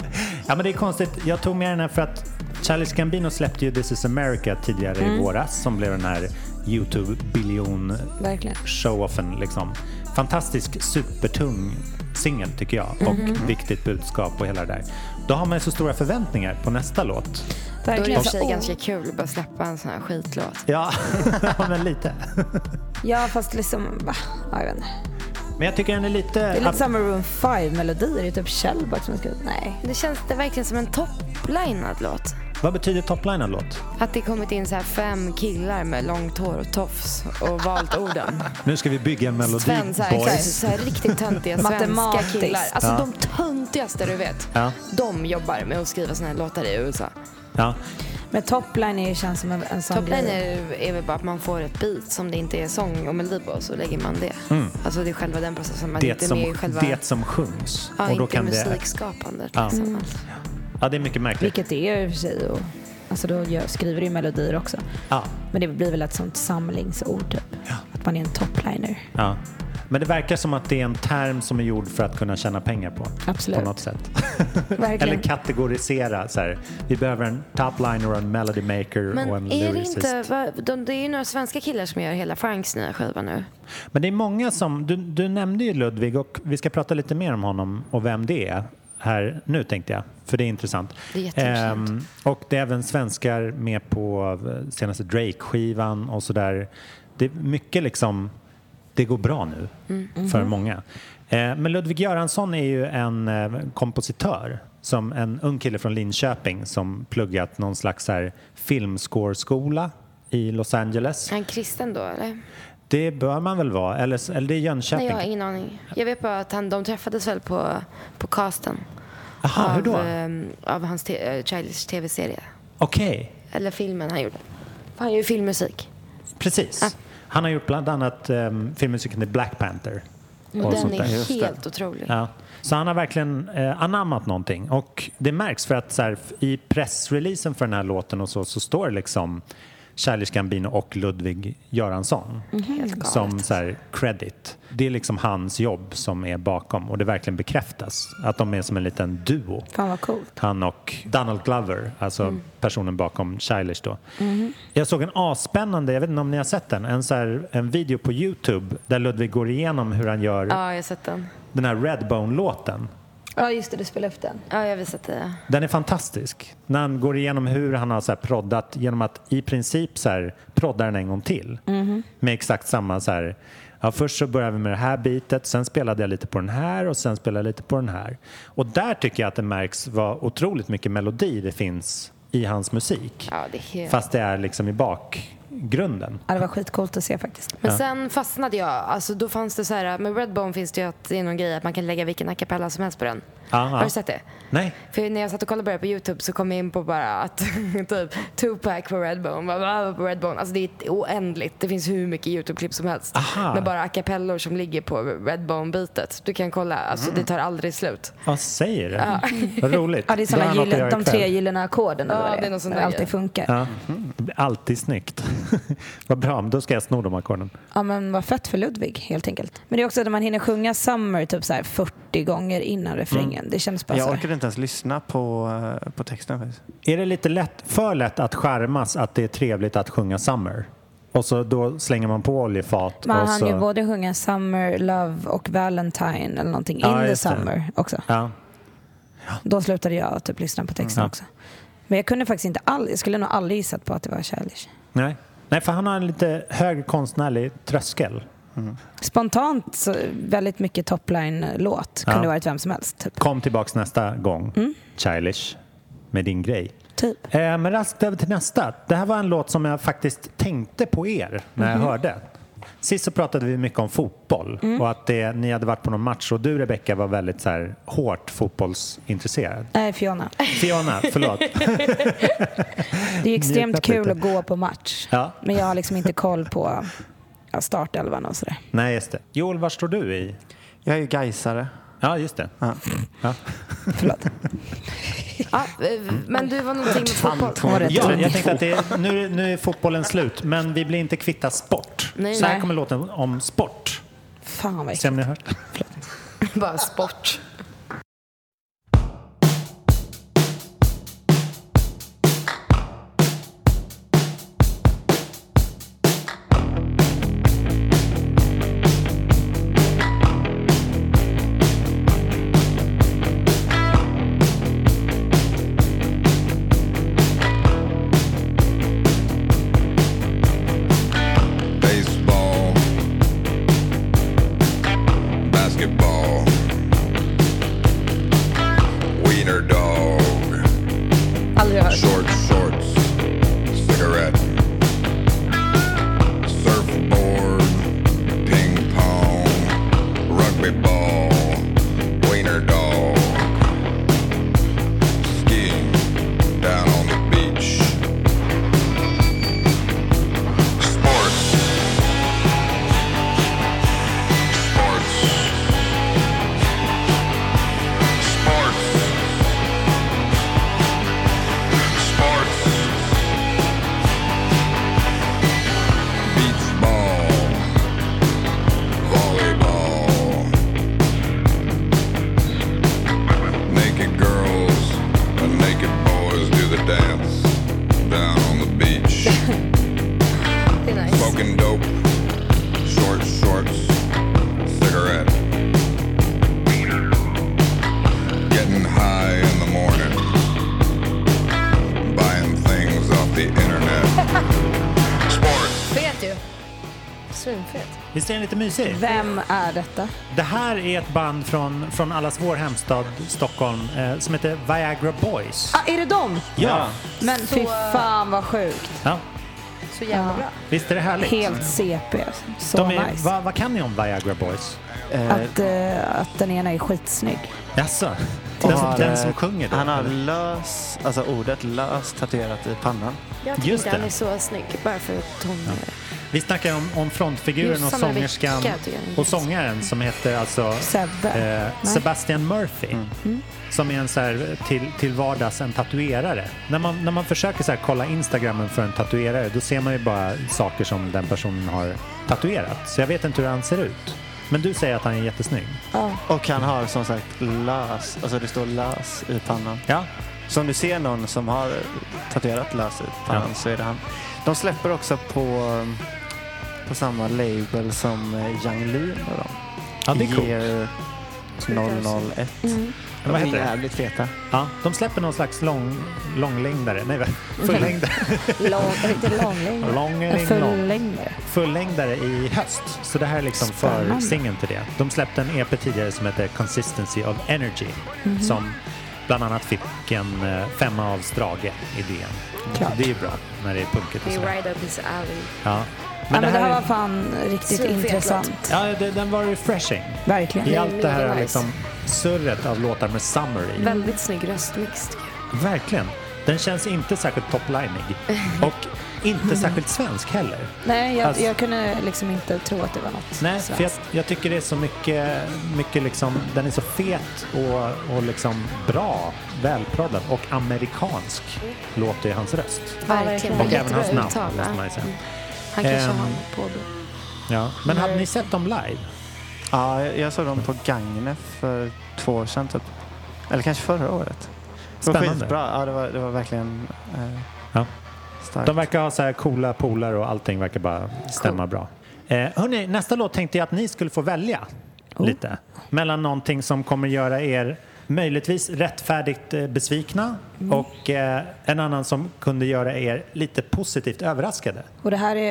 Speaker 1: Ja men det är konstigt, jag tog med den här för att Charles Gambino släppte ju This is America tidigare i våras som blev den här YouTube-biljon
Speaker 2: Verkligen.
Speaker 1: showoffen liksom. Fantastisk supertung singel tycker jag och viktigt budskap och hela det där. Då har man ju så stora förväntningar på nästa låt.
Speaker 4: Då är det i
Speaker 2: Verkligen.
Speaker 4: och för sig
Speaker 2: Så, oh.
Speaker 4: ganska kul att bara släppa en sån här skitlåt.
Speaker 1: Ja, ja, men lite.
Speaker 2: Ja fast liksom, va? Ja, jag vet inte.
Speaker 1: Men jag tycker den är lite...
Speaker 2: Det är lite samma Room 5 melodier. Det är typ Shellback som har skrivit. Nej.
Speaker 4: Det känns det verkligen som en topplinad låt.
Speaker 1: Vad betyder toplinad låt?
Speaker 4: Att det kommit in så här fem killar med långt hår och tofs och valt orden.
Speaker 1: Nu ska vi bygga en melodi,
Speaker 4: Sven, så här, exakt,
Speaker 1: boys.
Speaker 4: så här riktigt töntiga svenska
Speaker 2: Matematiskt.
Speaker 4: killar. Alltså
Speaker 1: Ja.
Speaker 4: de töntigaste du vet.
Speaker 1: Ja.
Speaker 4: De jobbar med att skriva såna här låtar i USA.
Speaker 1: Ja.
Speaker 2: Men topline är ju känns som en, en sån
Speaker 4: Topline
Speaker 2: grej.
Speaker 4: är, är väl bara att man får ett beat som det inte är sång och melodi på så lägger man det. Alltså det är själva den processen. Man är
Speaker 1: Mm. Det,
Speaker 4: inte
Speaker 1: som,
Speaker 4: med i själva...
Speaker 1: det som sjungs.
Speaker 4: ja,
Speaker 1: och då
Speaker 4: inte
Speaker 1: kan det,
Speaker 4: musikskapandet
Speaker 1: Ja.
Speaker 4: liksom.
Speaker 1: ja, det är mycket märkligt.
Speaker 2: Vilket det är i och för sig. Och, alltså då gör, skriver du ju melodier också.
Speaker 1: Ja,
Speaker 2: Men det blir väl ett sånt samlingsord typ. Att man är en topliner.
Speaker 1: ja. Men det verkar som att det är en term som är gjord för att kunna tjäna pengar på.
Speaker 2: Absolut.
Speaker 1: På något sätt.
Speaker 2: Verkligen.
Speaker 1: Eller kategorisera. Så här. Vi behöver en topliner och en melody maker och en
Speaker 4: Men är det
Speaker 1: lyricist.
Speaker 4: inte... vad- de, det är ju några svenska killar som gör hela Franks nya skiva nu.
Speaker 1: Men det är många som, du, du nämnde ju Ludvig och vi ska prata lite mer om honom och vem det är här nu tänkte jag, för det är intressant.
Speaker 4: Det är jätteintressant.
Speaker 1: Ehm, och det är även svenskar med på eh, senaste Drake-skivan och sådär. Det är mycket liksom, det går bra nu
Speaker 4: Mm, mhm.
Speaker 1: för många. Eh, men Ludvig Göransson är ju en eh, kompositör, som en ung kille från Linköping som pluggat någon slags så här filmscoreskola i Los Angeles.
Speaker 4: Är han kristen då eller?
Speaker 1: Det bör man väl vara, eller, eller det är Jönköping.
Speaker 4: Nej, jag har ingen aning. Jag vet bara att han, de träffades väl på, på casten.
Speaker 1: Aha, Ah, hur då?
Speaker 4: Av, ehm, av hans te- eh, Childish tv-serie.
Speaker 1: Okej,
Speaker 4: Eller filmen han gjorde. För han gör ju filmmusik.
Speaker 1: precis. Han har gjort bland annat um, filmmusiken till Black Panther.
Speaker 4: Och Mm, den
Speaker 1: sånt
Speaker 4: är
Speaker 1: där. Just det.
Speaker 4: helt otrolig.
Speaker 1: Ja. Så han har verkligen eh, anammat någonting och det märks för att så här, f- i pressreleasen för den här låten och så, så står det liksom Charlie Gambino och Ludvig Göransson
Speaker 4: Mhm.
Speaker 1: som så här, credit. Det är liksom hans jobb som är bakom och det verkligen bekräftas att de är som en liten duo.
Speaker 2: Fan vad coolt.
Speaker 1: Han och Donald Glover, alltså personen bakom Childish då. Jag såg en asspännande, jag vet inte om ni har sett den, en, så här, en video på Youtube där Ludvig går igenom hur han gör
Speaker 4: Ja, jag har sett den.
Speaker 1: den här Redbone-låten.
Speaker 2: Ja just det, du spelade upp den.
Speaker 4: Ja, jag har visat det.
Speaker 1: Den är fantastisk. När han går igenom hur han har så här proddat genom att i princip så här prodda den en gång till. Med exakt samma så här. Ja, först så började vi med det här bitet, sen spelade jag lite på den här och sen spelade jag lite på den här. Och där tycker jag att det märks vad otroligt mycket melodi det finns i hans musik.
Speaker 4: Ja, det är helt...
Speaker 1: Fast det är liksom i bakgrunden.
Speaker 2: Ja, det var skitcoolt att se faktiskt.
Speaker 4: Men sen fastnade jag. Alltså, då fanns det så här, med Redbone finns det ju att det är någon grej att man kan lägga vilken a cappella som helst på den.
Speaker 1: Ja, ja.
Speaker 4: Har du sett det?
Speaker 1: Nej.
Speaker 4: För när jag satt och kollade på det på Youtube så kom jag in på bara att typ Tupac på Redbone, bla, bla, bla, på Redbone. Alltså det är oändligt. Det finns hur mycket Youtube-klipp som helst.
Speaker 1: Aha.
Speaker 4: Med bara a cappellor som ligger på Redbone-bitet. Du kan kolla, alltså det tar aldrig slut.
Speaker 1: Vad säger du? Vad roligt.
Speaker 2: Ja det är
Speaker 1: Då
Speaker 2: såna
Speaker 1: har jag något att
Speaker 2: gyllene,
Speaker 1: göra
Speaker 2: de
Speaker 1: ikväll.
Speaker 2: tre gyllene ackorden eller
Speaker 4: Ja,
Speaker 2: vad
Speaker 4: det är någon sån
Speaker 2: Där
Speaker 4: där
Speaker 2: alltid
Speaker 4: grej.
Speaker 2: funkar. Ja.
Speaker 1: Ja. Det blir Alltid snyggt. Vad bra, men då ska jag sno de ackorden.
Speaker 2: men vad fett för Ludvig helt enkelt. Men det är också när man hinner sjunga Summer typ så här 40 gånger innan refrängen.
Speaker 1: Mm.
Speaker 2: Det känns bara så
Speaker 3: Jag
Speaker 2: här.
Speaker 3: orkar inte ens lyssna på, eh, på texten faktiskt.
Speaker 1: Är det lite lätt, för lätt att skärmas att det är trevligt att sjunga Summer? Och så då slänger man på oljefat
Speaker 2: Man
Speaker 1: och
Speaker 2: hann
Speaker 1: så...
Speaker 2: ju både sjunga Summer, Love och Valentine eller någonting.
Speaker 1: Ja,
Speaker 2: in the
Speaker 1: just det.
Speaker 2: Summer också.
Speaker 1: Ja.
Speaker 2: Då slutade jag typ lyssna på texten
Speaker 1: Ja.
Speaker 2: också. Men jag kunde faktiskt inte all, jag skulle nog aldrig gissat på att det var Childish.
Speaker 1: Nej. Nej, för han har en lite hög konstnärlig tröskel.
Speaker 2: Spontant så väldigt mycket topline-låt. Kunde
Speaker 1: Ja.
Speaker 2: varit vem som helst. Typ.
Speaker 1: Kom tillbaks nästa gång,
Speaker 2: Mm.
Speaker 1: Childish, med din grej.
Speaker 2: typ.
Speaker 1: Eh, men
Speaker 4: Mhm.
Speaker 1: raskt över till nästa. Det här var en låt som jag faktiskt tänkte på er när jag hörde. Sist så pratade vi mycket om fotboll
Speaker 4: Mm.
Speaker 1: och att det, ni hade varit på någon match och du Rebecka var väldigt så här, hårt fotbollsintresserad.
Speaker 2: Nej, Fiona.
Speaker 1: Fiona, förlåt.
Speaker 2: Det är
Speaker 1: Njuta
Speaker 2: extremt kul
Speaker 1: lite.
Speaker 2: att gå på match.
Speaker 1: Ja.
Speaker 2: Men jag har liksom inte koll på ja, startelvan och sådär.
Speaker 1: Nej, just det. Joel, var står du i?
Speaker 3: Jag är ju gaisare.
Speaker 1: Ja, just det.
Speaker 3: Ja.
Speaker 2: Förlåt.
Speaker 4: Ja, eh, men du var någonting med fotboll.
Speaker 2: Hon var rätt
Speaker 1: Ja,
Speaker 2: trött.
Speaker 1: jag tänkte att det, nu, nu är fotbollen slut, men vi blir inte kvitta sport.
Speaker 4: Nej,
Speaker 1: så här
Speaker 4: nej.
Speaker 1: kommer låten om sport.
Speaker 2: Fan vad
Speaker 1: Se om ni har hört.
Speaker 4: Bara sport.
Speaker 9: baseball, basketball, wiener dog,
Speaker 2: Aldrig hört.
Speaker 9: short shorts, cigarette, surfboard, ping pong, rugby ball, wiener dog, skiing down on the beach. Sports. Sports. Sports. Sports. Beach ball. Volleyball. Naked girls and naked boys do the dance down on the beach.
Speaker 4: Det är nice.
Speaker 9: Smoking dope, short shorts, cigarette. Getting high in the morning. Buying things off the internet. Sports.
Speaker 4: Fet ju. Svinfet.
Speaker 1: Visst är den lite mysig?
Speaker 2: Vem är detta?
Speaker 1: Det här är ett band från, från allas vår hemstad Stockholm eh, som heter Viagra Boys.
Speaker 2: Ah, är det dem?
Speaker 1: Ja.
Speaker 2: Men fy fan vad sjukt.
Speaker 1: ja.
Speaker 4: Så jävla bra.
Speaker 1: Visst är det härligt?
Speaker 2: Helt CP. Så
Speaker 1: De är,
Speaker 2: nice.
Speaker 1: vad, vad kan ni om Viagra Boys?
Speaker 2: Att, eh, att den ena är skitsnygg.
Speaker 1: Jaså? Den, som-
Speaker 3: har,
Speaker 1: den
Speaker 3: eh,
Speaker 1: som sjunger då?
Speaker 3: Han har lös, alltså ordet lös tatuerat i pannan.
Speaker 4: Jag
Speaker 1: tycker Just
Speaker 4: tycker
Speaker 1: inte han det.
Speaker 4: han
Speaker 1: är
Speaker 4: är så snygg, bara för att hon...
Speaker 1: Vi snackar om, om frontfiguren
Speaker 4: Just
Speaker 1: och
Speaker 4: som en
Speaker 1: sångerskan
Speaker 4: vecka, tycker jag.
Speaker 1: och sångaren som heter alltså
Speaker 2: Sebbe.
Speaker 1: eh, Sebastian Murphy. Som är en så här, till, till vardags en tatuerare. När man, när man försöker så här, kolla Instagramen för en tatuerare då ser man ju bara saker som den personen har tatuerat. Så jag vet inte hur han ser ut. Men du säger att han är jättesnygg.
Speaker 3: Och han har som sagt lös, alltså det står lös i pannan.
Speaker 1: Ja.
Speaker 3: Så om du ser någon som har tatuerat lös i pannan
Speaker 1: Ja.
Speaker 3: så är det han. De släpper också på, på samma label som eh, Yung Lean och dem.
Speaker 1: ja, det är Mm. coolt.
Speaker 3: Year 001.
Speaker 1: Vad
Speaker 3: De
Speaker 1: heter
Speaker 3: är
Speaker 1: det?
Speaker 3: jävligt feta.
Speaker 1: Ja, de släpper någon slags lång, långlängdare. Nej, vad- fullängdare.
Speaker 2: Lång, riktigt långlängd. En
Speaker 1: Långlängd, lång.
Speaker 2: fullängdare.
Speaker 1: fullängdare i höst. Så det här är liksom för
Speaker 2: Spännande.
Speaker 1: singeln till det. De släppte en EP tidigare som heter Consistency of Energy Mm-hmm. som bland annat fick en eh, femma av Strage i DN.
Speaker 2: Klart.
Speaker 1: Det är ju bra när det är punkigt och
Speaker 4: Be
Speaker 1: sådär.
Speaker 4: right up his alley.
Speaker 1: Ja.
Speaker 2: Men, ja, men det här
Speaker 1: är-
Speaker 2: var fan riktigt
Speaker 4: Svinfet låt.
Speaker 2: intressant.
Speaker 1: Ja, det, den var refreshing.
Speaker 2: Verkligen.
Speaker 1: I
Speaker 4: är
Speaker 1: allt det här
Speaker 4: mega nice.
Speaker 1: liksom surret av låtar med Summer i.
Speaker 4: Väldigt snygg röstmix. tycker jag.
Speaker 1: Verkligen. Den känns inte särskilt toplinig. Och inte särskilt svensk heller.
Speaker 2: Nej, jag,
Speaker 1: Alltså-
Speaker 2: jag kunde liksom inte tro att det var något
Speaker 1: Nej,
Speaker 2: svenskt.
Speaker 1: för jag, jag tycker det är så mycket, mycket liksom, den är så fet och, och liksom bra, välproddad och amerikansk låter i hans röst.
Speaker 4: Verkligen.
Speaker 1: Och även
Speaker 4: Jättebra
Speaker 1: hans namn,
Speaker 4: uttal,
Speaker 1: måste
Speaker 4: va?
Speaker 1: man ju säga.
Speaker 4: Mm. Han kanske
Speaker 1: Ehm.
Speaker 4: har på
Speaker 1: Ja. Men hade ni sett dem live?
Speaker 3: Ja, jag såg dem på Gagnef för två år sedan typ. Eller kanske förra året. Det var
Speaker 1: Spännande.
Speaker 3: skitbra. Ja, det var, det var verkligen eh,
Speaker 1: Ja.
Speaker 3: starkt.
Speaker 1: De verkar ha så här coola polare och allting verkar bara stämma bra. Eh, hörni, nästa låt tänkte jag att ni skulle få välja
Speaker 4: Oh.
Speaker 1: lite. Mellan någonting som kommer göra er möjligtvis rättfärdigt eh, besvikna
Speaker 4: Mm.
Speaker 1: och eh, en annan som kunde göra er lite positivt överraskade.
Speaker 2: Och det här är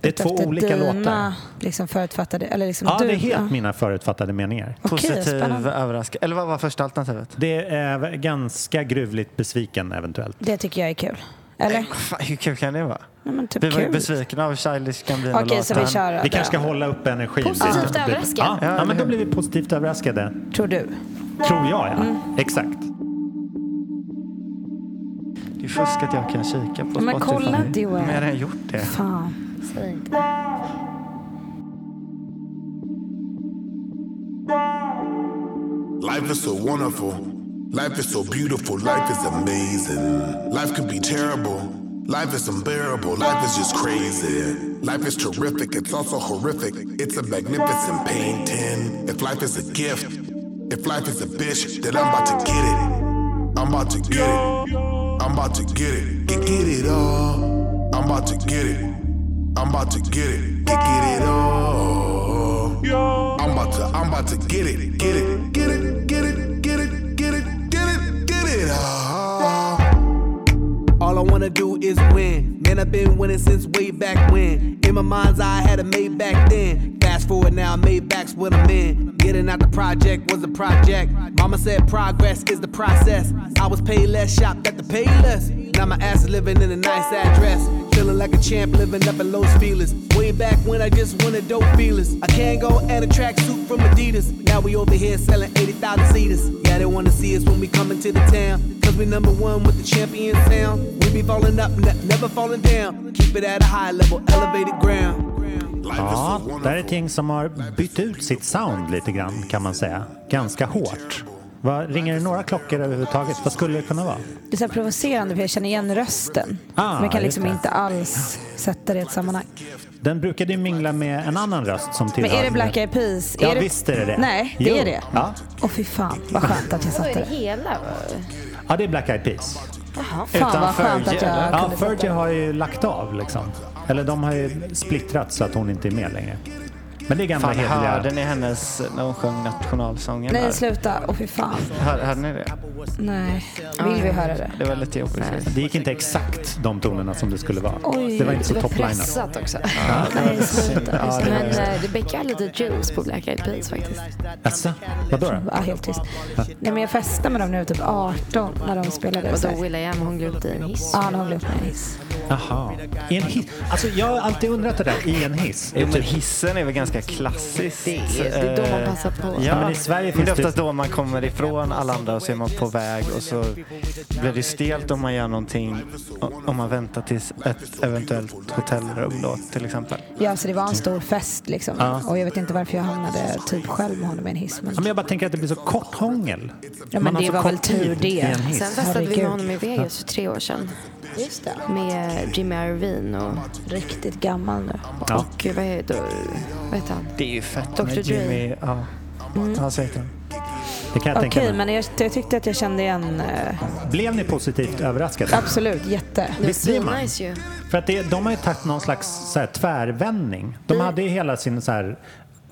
Speaker 1: Det är
Speaker 2: ute
Speaker 1: två
Speaker 2: efter
Speaker 1: olika
Speaker 2: dina,
Speaker 1: låtar.
Speaker 2: Liksom förutfattade, eller liksom
Speaker 1: Ja,
Speaker 2: du,
Speaker 1: det är helt
Speaker 2: ja.
Speaker 1: mina förutfattade meningar.
Speaker 2: Okej,
Speaker 3: Positiv
Speaker 2: spännande.
Speaker 3: överraskning. Eller vad var första alternativet?
Speaker 1: Det är ganska gruvligt eh, besviken eventuellt.
Speaker 2: Det tycker jag är kul. Eller?
Speaker 3: Nej, fan, hur kul kan det vara?
Speaker 2: Nej, men typ
Speaker 3: Vi var ju
Speaker 2: kul.
Speaker 3: besvikna av Childish Gambino-låten.
Speaker 2: Okej, så vi kör
Speaker 1: Vi
Speaker 2: den,
Speaker 1: kanske ska hålla upp energin.
Speaker 4: Positivt
Speaker 1: lite.
Speaker 4: överraskad.
Speaker 1: Ja,
Speaker 3: Ja,
Speaker 1: ja, men då
Speaker 3: eller
Speaker 1: blir vi positivt överraskade.
Speaker 2: tror du.
Speaker 1: Tror jag, ja.
Speaker 2: Mm.
Speaker 1: Exakt.
Speaker 3: Det är fusk att jag kan kika på
Speaker 2: Men
Speaker 3: Spotify.
Speaker 2: kolla, Joel.
Speaker 3: Men jag har redan gjort det.
Speaker 2: Fan.
Speaker 4: Säg inte.
Speaker 10: Life is so wonderful. Life is so beautiful. Life is amazing. Life can be terrible. Life is unbearable. Life is just crazy. Life is terrific. It's also horrific. It's a magnificent painting. If life is a gift, if life is a bitch, then I'm about to get it. I'm about to get it. I'm about to get it. Get, get it all. I'm about to get it. I'm about to get it. Get, get it all. I'm about to, I'm about to get it, get it, get it, get it, get it, get it, get it, get it. Ah.
Speaker 8: All I wanna do is win. Man, I've been winning since way back when. In my mind's eye, I had a made back then. Fast forward now, Maybach's what I'm in. Getting out the project was a project. Mama said progress is the process. I was paid less, shopped at the pay less. Now my ass is living in a nice address. Feeling like a champ, living up in Los Feliz. Way back when I just wanted dope feelers. I can't go and a tracksuit from Adidas. Now we over here selling 80,000 seaters. Yeah, they wanna see us when we come into the town. Cause we number one with the champion sound. We be falling up, ne- never falling down. Keep it at a high level, elevated ground.
Speaker 1: Ja, det här är ett gäng som har bytt ut sitt sound lite grann kan man säga. Ganska hårt. Vad, ringer det några klockor överhuvudtaget? Vad skulle det kunna vara?
Speaker 2: Det är så här provocerande för jag känner igen rösten.
Speaker 1: Ah,
Speaker 2: men jag kan
Speaker 1: just
Speaker 2: liksom
Speaker 1: det.
Speaker 2: inte alls sätta det i ett sammanhang.
Speaker 1: Den brukade ju mingla med en annan röst som tillhör...
Speaker 2: Men är det Black Eyed Peas?
Speaker 1: Ja,
Speaker 2: är det...
Speaker 1: visst är det det.
Speaker 2: Nej, det
Speaker 1: Jo.
Speaker 2: är det.
Speaker 1: Ja.
Speaker 2: Åh fy fan, vad skönt att jag
Speaker 4: Vad är
Speaker 2: satte det.
Speaker 4: det hela?
Speaker 1: ja, det är Black Eyed Peas.
Speaker 2: Fan vad skönt att jag
Speaker 1: Ja,
Speaker 2: kunde sätta
Speaker 1: Fergie
Speaker 2: det.
Speaker 1: har ju lagt av liksom. Eller de har ju splittrat så att hon inte är med längre. Men det är gamla
Speaker 3: Fan, hörde
Speaker 1: hederliga...
Speaker 3: ni hennes, när hon sjöng nationalsången där?
Speaker 2: Nej, sluta. Åh fy fan.
Speaker 3: Hör, hörde ni det?
Speaker 2: Nej. Vill vi höra det?
Speaker 3: Det var lite jobbigt.
Speaker 1: Det gick inte exakt de tonerna som det skulle vara.
Speaker 2: Oj,
Speaker 1: det var inte så toplinat.
Speaker 4: Pressat också.
Speaker 2: Nej, sluta.
Speaker 3: Ja, det var
Speaker 4: Men
Speaker 3: det.
Speaker 4: eh, Rebecca har lite juice på Black Eyed Peas faktiskt.
Speaker 1: Jaså? Vadå då?
Speaker 2: Ja, helt tyst. Nej, men jag festade med dem när jag var typ 18 när de spelade. Så
Speaker 4: Vadå
Speaker 2: här.
Speaker 4: Will I Am, hon glömde i en hiss.
Speaker 2: Ja, när hon blev nice.
Speaker 1: Jaha. I en hiss. Alltså jag har alltid undrat det där. I en hiss.
Speaker 3: Jo, men Typ hissen är väl ganska klassiskt.
Speaker 4: Det är- det är då man passar på.
Speaker 3: Ja,
Speaker 1: Eh, Ja, men
Speaker 3: men
Speaker 1: i Sverige
Speaker 3: det
Speaker 1: finns
Speaker 3: är
Speaker 1: det-
Speaker 3: oftast då man kommer ifrån alla andra och så är man på väg och så blir det stelt om man gör någonting o- om man väntar tills ett eventuellt hotellrum då till exempel.
Speaker 2: Ja, så det var en stor fest liksom. Och jag vet inte varför jag hamnade typ själv med honom i en hiss. Men...
Speaker 1: Ja, men jag bara tänker att det blir så kort hångel.
Speaker 2: Ja, men
Speaker 1: Man har
Speaker 2: det
Speaker 1: så
Speaker 2: var
Speaker 1: kort
Speaker 2: väl tur
Speaker 1: tid i en
Speaker 2: det.
Speaker 1: hiss.
Speaker 4: Sen festade vi
Speaker 2: Herregud.
Speaker 4: med honom i Vegas för tre år sedan.
Speaker 2: Just det.
Speaker 4: Med Jimmy Irvine och
Speaker 2: Riktigt gammal nu.
Speaker 1: Ja.
Speaker 4: Gud, vad heter, vad heter han?
Speaker 3: Det är ju fett.
Speaker 4: Dr.
Speaker 3: Med
Speaker 4: Dre.
Speaker 3: Jimmy, ja. Ja, så heter han.
Speaker 1: Det kan jag
Speaker 2: Okej,
Speaker 1: tänka mig.
Speaker 2: men jag, jag tyckte att jag kände igen... eh,
Speaker 1: Blev ni positivt överraskade?
Speaker 2: absolut, jätte.
Speaker 1: Visst blir man?
Speaker 4: Nice ju.
Speaker 1: För att det, de har ju tagit någon slags så här, tvärvändning. De
Speaker 2: Mm.
Speaker 1: hade ju hela sin så här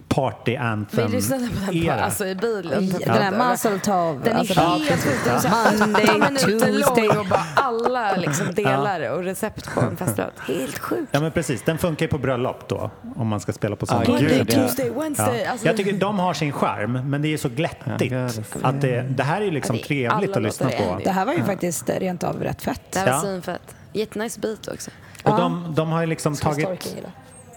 Speaker 1: party
Speaker 4: Vi
Speaker 1: anthem
Speaker 4: lyssnade på den på,
Speaker 1: era.
Speaker 4: alltså i bilen.
Speaker 2: Den här Mazeltov.
Speaker 4: Den är
Speaker 2: alltså,
Speaker 4: helt sjuk. Alltså, Den är såhär
Speaker 2: Monday,
Speaker 4: åtta minuter
Speaker 2: Tuesday.
Speaker 4: lång och bara alla liksom delar och recept på en festlåt. Helt sjukt.
Speaker 1: Ja men precis, den funkar ju på bröllop då. Om man ska spela på sådana.
Speaker 3: gud,
Speaker 4: Monday,
Speaker 3: ja.
Speaker 4: Tuesday, Wednesday.
Speaker 1: Ja.
Speaker 4: Alltså,
Speaker 1: Jag tycker de har sin charm, men det är så glättigt.
Speaker 3: Ja, gud.
Speaker 1: Att det, det här är ju liksom
Speaker 4: Ja, det är alla
Speaker 1: trevligt att
Speaker 4: låtar
Speaker 1: lyssna
Speaker 4: är
Speaker 1: på.
Speaker 4: det.
Speaker 2: Det här var ju faktiskt eh, rent av rätt fett.
Speaker 4: det här var
Speaker 1: Ja.
Speaker 4: svinfett. Jättenice beat också.
Speaker 1: Och de, de har ju liksom
Speaker 2: Storken
Speaker 1: tagit,
Speaker 2: gillar.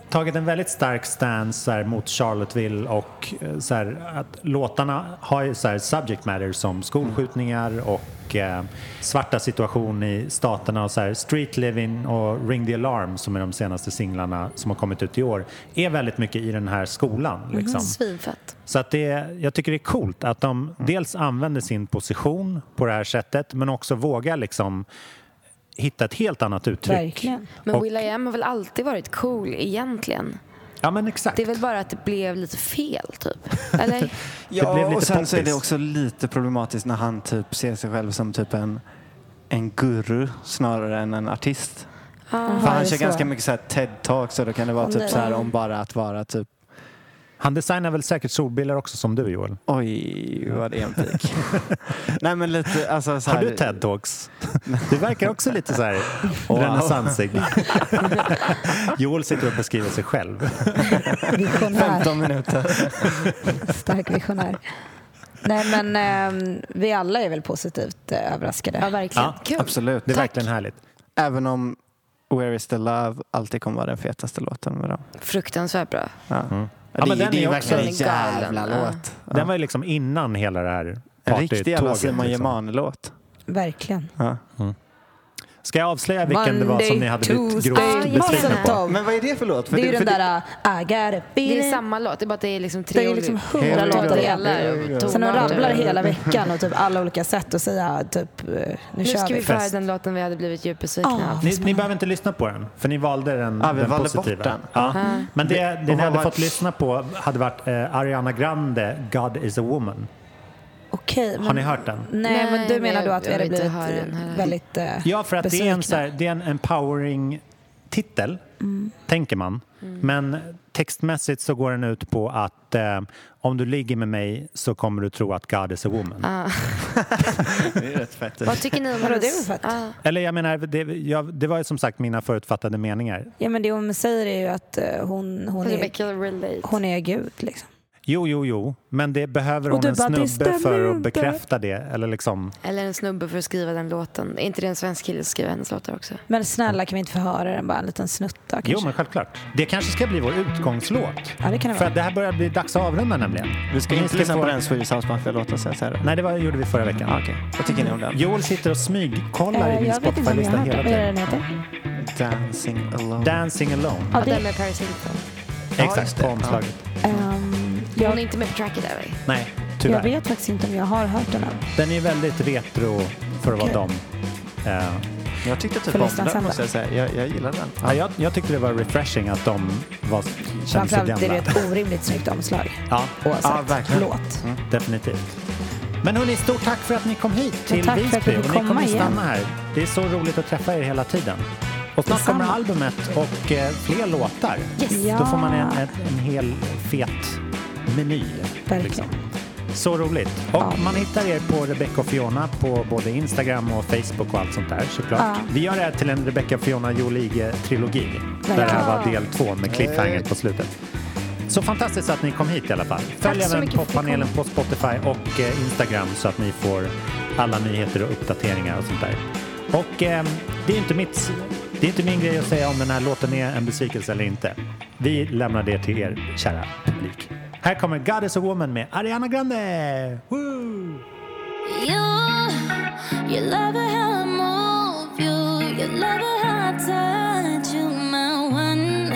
Speaker 1: tagit en väldigt stark stance så här, mot Charlottesville och eh, så här, att låtarna har ju så här, subject matter som skolskjutningar och eh, svarta situation i staterna och så här, Street Living och Ring the Alarm som är de senaste singlarna som har kommit ut i år är väldigt mycket i den här skolan.
Speaker 4: Mm-hmm.
Speaker 1: Liksom.
Speaker 4: Svinfett.
Speaker 1: Så att det, jag tycker det är coolt att de dels använder sin position på det här sättet men också vågar liksom hitta ett helt annat uttryck.
Speaker 2: Verkligen.
Speaker 4: Men
Speaker 1: Och-
Speaker 4: Will I Am har väl alltid varit cool egentligen?
Speaker 1: Ja men exakt.
Speaker 4: Det är väl bara att det blev lite fel typ. Eller?
Speaker 1: Det blev
Speaker 3: Ja,
Speaker 1: lite
Speaker 3: och sen så är
Speaker 1: poppis.
Speaker 3: det också lite problematiskt när han typ ser sig själv som typ en, en guru snarare än en artist. För
Speaker 2: är
Speaker 3: han
Speaker 2: det
Speaker 3: kör
Speaker 2: så?
Speaker 3: ganska mycket så här TED-talk så då kan det vara typ så här om bara att vara typ
Speaker 1: Han designar väl säkert solbilar också som du Joel?
Speaker 3: Oj, vad det är en pik. Nej men lite, alltså så här,
Speaker 1: Har du TED Talks? Du verkar också lite så här renässansig. Joel sitter och beskriver sig själv.
Speaker 2: Visionär.
Speaker 3: 15 minuter.
Speaker 2: Stark visionär. Nej men ehm, vi alla är väl positivt eh, överraskade.
Speaker 4: Ja, verkligen.
Speaker 1: Ja,
Speaker 4: Kul.
Speaker 3: Absolut.
Speaker 1: Det är verkligen härligt.
Speaker 3: Även om Where is the love alltid kommer vara den fetaste låten med dem.
Speaker 4: Fruktansvärt bra.
Speaker 3: Ja.
Speaker 1: Ja, men
Speaker 3: det,
Speaker 1: den
Speaker 3: det är
Speaker 1: är
Speaker 3: ju
Speaker 1: också-
Speaker 3: verkligen en
Speaker 4: Den är galen,
Speaker 3: jävla
Speaker 4: ja.
Speaker 3: låt. Ja.
Speaker 1: Den var ju liksom innan hela det här
Speaker 3: En riktig jävla
Speaker 1: partytåget,
Speaker 3: Simon
Speaker 1: liksom.
Speaker 3: Gemane-låt.
Speaker 2: Verkligen.
Speaker 3: Ja.
Speaker 1: Ska jag avslöja vilken det var som
Speaker 2: Monday,
Speaker 1: ni hade blivit
Speaker 2: Tuesday,
Speaker 1: grovt besvikna
Speaker 2: Molotov.
Speaker 1: på?
Speaker 3: Men vad är det för låt? För
Speaker 2: Det är ju
Speaker 3: för
Speaker 2: den där uh, I got a
Speaker 4: Det är
Speaker 2: feeling.
Speaker 4: samma låt, det är bara att det är liksom tre
Speaker 2: Det är ju liksom
Speaker 4: olika-
Speaker 2: hundra
Speaker 3: Here we
Speaker 2: låtar
Speaker 3: go.
Speaker 2: i
Speaker 4: delar
Speaker 3: Here we go.
Speaker 4: och
Speaker 2: Så de
Speaker 4: tonarter.
Speaker 2: rabblar hela veckan och typ alla olika sätt att säga typ eh, nu,
Speaker 4: Mm. Nu
Speaker 2: kör
Speaker 4: ska vi
Speaker 2: vi.
Speaker 4: få höra
Speaker 1: Fest.
Speaker 4: den låten vi hade blivit djupt besvikna
Speaker 2: Ah.
Speaker 4: av.
Speaker 1: Ni, ni behöver inte lyssna på den, för ni valde den,
Speaker 3: Ja, Ah, vi
Speaker 1: den
Speaker 3: valde
Speaker 1: positiva.
Speaker 3: bort den.
Speaker 1: Ja.
Speaker 2: Ah.
Speaker 1: Men det, det ni
Speaker 3: vad
Speaker 1: hade
Speaker 3: var-
Speaker 1: fått lyssna på hade varit eh, Ariana Grande, God is a woman.
Speaker 2: Okej, men,
Speaker 1: Har ni hört den?
Speaker 2: nej, men du
Speaker 4: Nej,
Speaker 2: menar
Speaker 4: men
Speaker 2: då att vi
Speaker 4: jag
Speaker 2: hade
Speaker 4: vill inte
Speaker 2: blivit
Speaker 4: höra den här.
Speaker 2: eh, väldigt eh,
Speaker 1: Ja, för att det är en, så
Speaker 2: besvikna.
Speaker 1: här, det är en empowering titel,
Speaker 2: Mm.
Speaker 1: tänker man. Men textmässigt så går den ut på att eh, om du ligger med mig så kommer du tro att God is a woman.
Speaker 2: Ah.
Speaker 3: Det är rätt fett.
Speaker 4: Vad tycker ni om
Speaker 2: Vadå, det är
Speaker 4: hennes-
Speaker 2: väl fett?
Speaker 4: Ah.
Speaker 1: Eller jag menar, det, jag, det var ju som sagt mina förutfattade meningar.
Speaker 2: Ja men det hon säger är ju att eh, hon, hon, är,
Speaker 4: Rebecca alltså relate.
Speaker 2: hon är gud liksom.
Speaker 1: Jo, jo, jo, men det behöver
Speaker 2: Och
Speaker 1: hon
Speaker 2: du
Speaker 1: en
Speaker 2: bara, "Det
Speaker 1: snubbe för
Speaker 2: stämmer
Speaker 1: att
Speaker 2: inte."
Speaker 1: bekräfta det. Eller liksom,
Speaker 4: Eller en snubbe för att skriva den låten. Är inte det en svensk kille som skriver hennes låtar också?
Speaker 2: Men snälla kan vi inte få höra den bara en liten snutt då, kanske?
Speaker 1: jo, men självklart. Det kanske ska bli vår utgångslåt.
Speaker 2: Ja, det kan det
Speaker 1: för
Speaker 2: vara.
Speaker 1: att det här börjar bli dags att avrunda nämligen.
Speaker 3: Vi ska
Speaker 1: Ni
Speaker 3: inte lyssna
Speaker 1: få-
Speaker 3: på den Swedish House Mafia-låten sen säger jag.
Speaker 1: Nej, det var, gjorde vi förra veckan.
Speaker 3: Ah, Okej, vad tycker ni om den?
Speaker 1: Joel sitter och smygkollar i
Speaker 2: Eh,
Speaker 1: min
Speaker 2: jag vet inte om jag
Speaker 1: Spotify-lista
Speaker 2: har hört
Speaker 1: hela
Speaker 2: den. Vad är det
Speaker 1: tiden.
Speaker 2: den heter?
Speaker 3: Dancing alone.
Speaker 1: Dancing alone.
Speaker 2: Ja,
Speaker 4: Ja, den
Speaker 2: det,
Speaker 4: med Paris Hilton.
Speaker 1: Exakt, på omslaget.
Speaker 2: ehm,
Speaker 4: Hon är
Speaker 2: jag,
Speaker 4: inte med på tracket där, va?
Speaker 1: Nej,
Speaker 2: jag
Speaker 1: tyvärr.
Speaker 2: vet faktiskt inte om jag har hört den än.
Speaker 1: Den är väldigt retro för att vara dem. Eh,
Speaker 3: Jag tyckte typ om
Speaker 2: Förlusten
Speaker 3: den
Speaker 2: samba.
Speaker 3: måste jag säga. Jag, jag gillar den.
Speaker 1: ja, jag, jag tyckte det var refreshing att de var, kände sig
Speaker 2: Framförallt är det
Speaker 1: gamla.
Speaker 2: ett orimligt snyggt omslag.
Speaker 1: Ja,
Speaker 2: Oavsett
Speaker 3: Ja, verkligen.
Speaker 2: låt.
Speaker 1: definitivt. Men hörni, stort tack för att ni kom hit till
Speaker 2: tack för
Speaker 1: Visby.
Speaker 2: att vi fick
Speaker 1: och ni
Speaker 2: komma
Speaker 1: kommer
Speaker 2: igen.
Speaker 1: stanna här. Det är så roligt att träffa er hela tiden. Och snart kommer
Speaker 2: Detsamma.
Speaker 1: albumet och eh, fler låtar.
Speaker 2: Ja.
Speaker 1: Då får man en, en, en hel fet meny. liksom.
Speaker 2: Verkligen.
Speaker 1: Så roligt. Och man hittar er på Rebecca och Fiona på både Instagram och Facebook och allt sånt där såklart.
Speaker 2: Ja.
Speaker 1: Vi gör det här till en Rebecca och Fiona Jolige-trilogi. Där det här var del två med cliffhanger på slutet. Så fantastiskt att ni kom hit i alla fall. Följ
Speaker 4: så
Speaker 1: även
Speaker 4: mycket för att vi
Speaker 1: poppanelen på Spotify och eh, Instagram så att ni får alla nyheter och uppdateringar och sånt där. Och eh, det är inte mitt, det är inte min grej att säga om den här låten är en besvikelse eller inte. Vi lämnar det till er, kära publik. Här kommer God is a woman med Ariana Grande! Woo!
Speaker 5: You, you love it how I move you, you love it how I touch you, my one.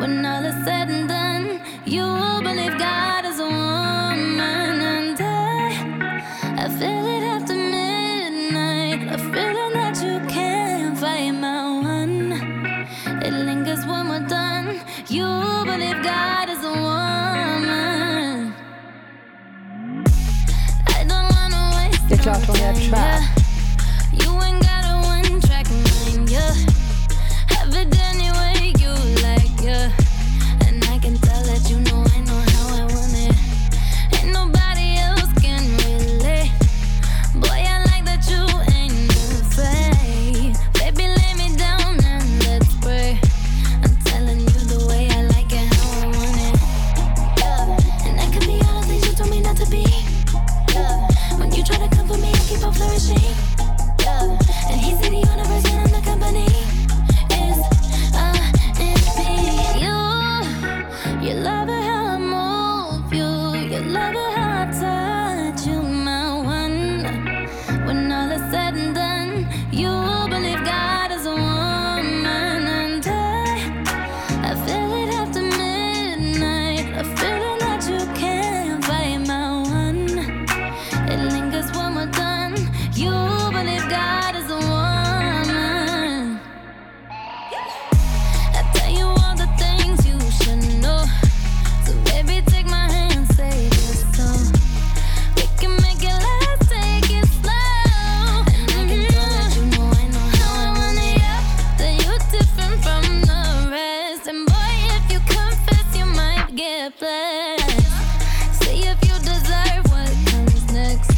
Speaker 5: When all is said and done, you believe God is a woman, and I, I feel it after midnight, a feeling that you can't fight, my one. It lingers when we're done. You believe God is a woman. I don't wanna waste
Speaker 2: Det är klart hon gör
Speaker 5: no time,
Speaker 2: trap.
Speaker 5: yeah. You ain't got a one track mind, yeah. Have it any way you like, yeah. And I can tell that you know I know how I want it. Ain't nobody else can relate. Boy, I like that you ain't afraid. Baby, lay me down and let's pray. I'm telling you the way I like it, how I want it. Yeah. And I can be all the things you told me not to be. Yeah. When you try to come for me, I keep on flourishing. Yeah. And he's in the universe and I'm the company. It's uh, it's me. You, you love it how I move you. You love it how I touch you, my one. When all is said and done, you believe God is a woman and I. I feel it after midnight. A feeling that you can't fight, my one. It lingers when we're done. You believe God is a woman. I tell you all the things you should know. So baby, take my hand, say oh. this song. We can make it last, take it slow. And I can tell that you know I know how I want it. Yeah, that you're different from the rest. And boy, if you confess, you might get blessed. See if you deserve what comes next.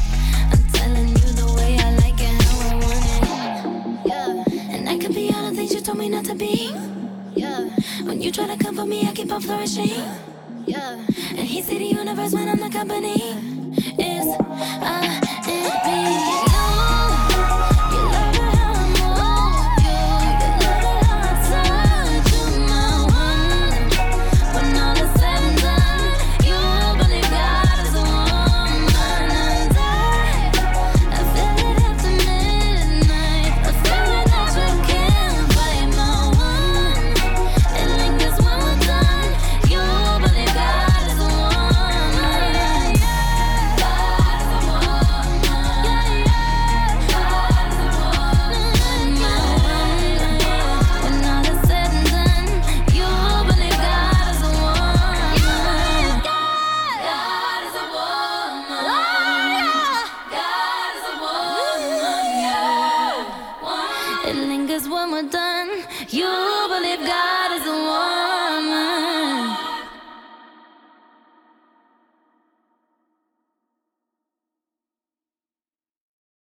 Speaker 5: I'm telling you the way I like it, how I want it. Yeah, and I could be all the things you told me not to be. Yeah, when you try to come for me, I keep on flourishing. Yeah. And he see the universe when I'm the company. It's I and me. You, you love it how I move you. It lingers when we're done. You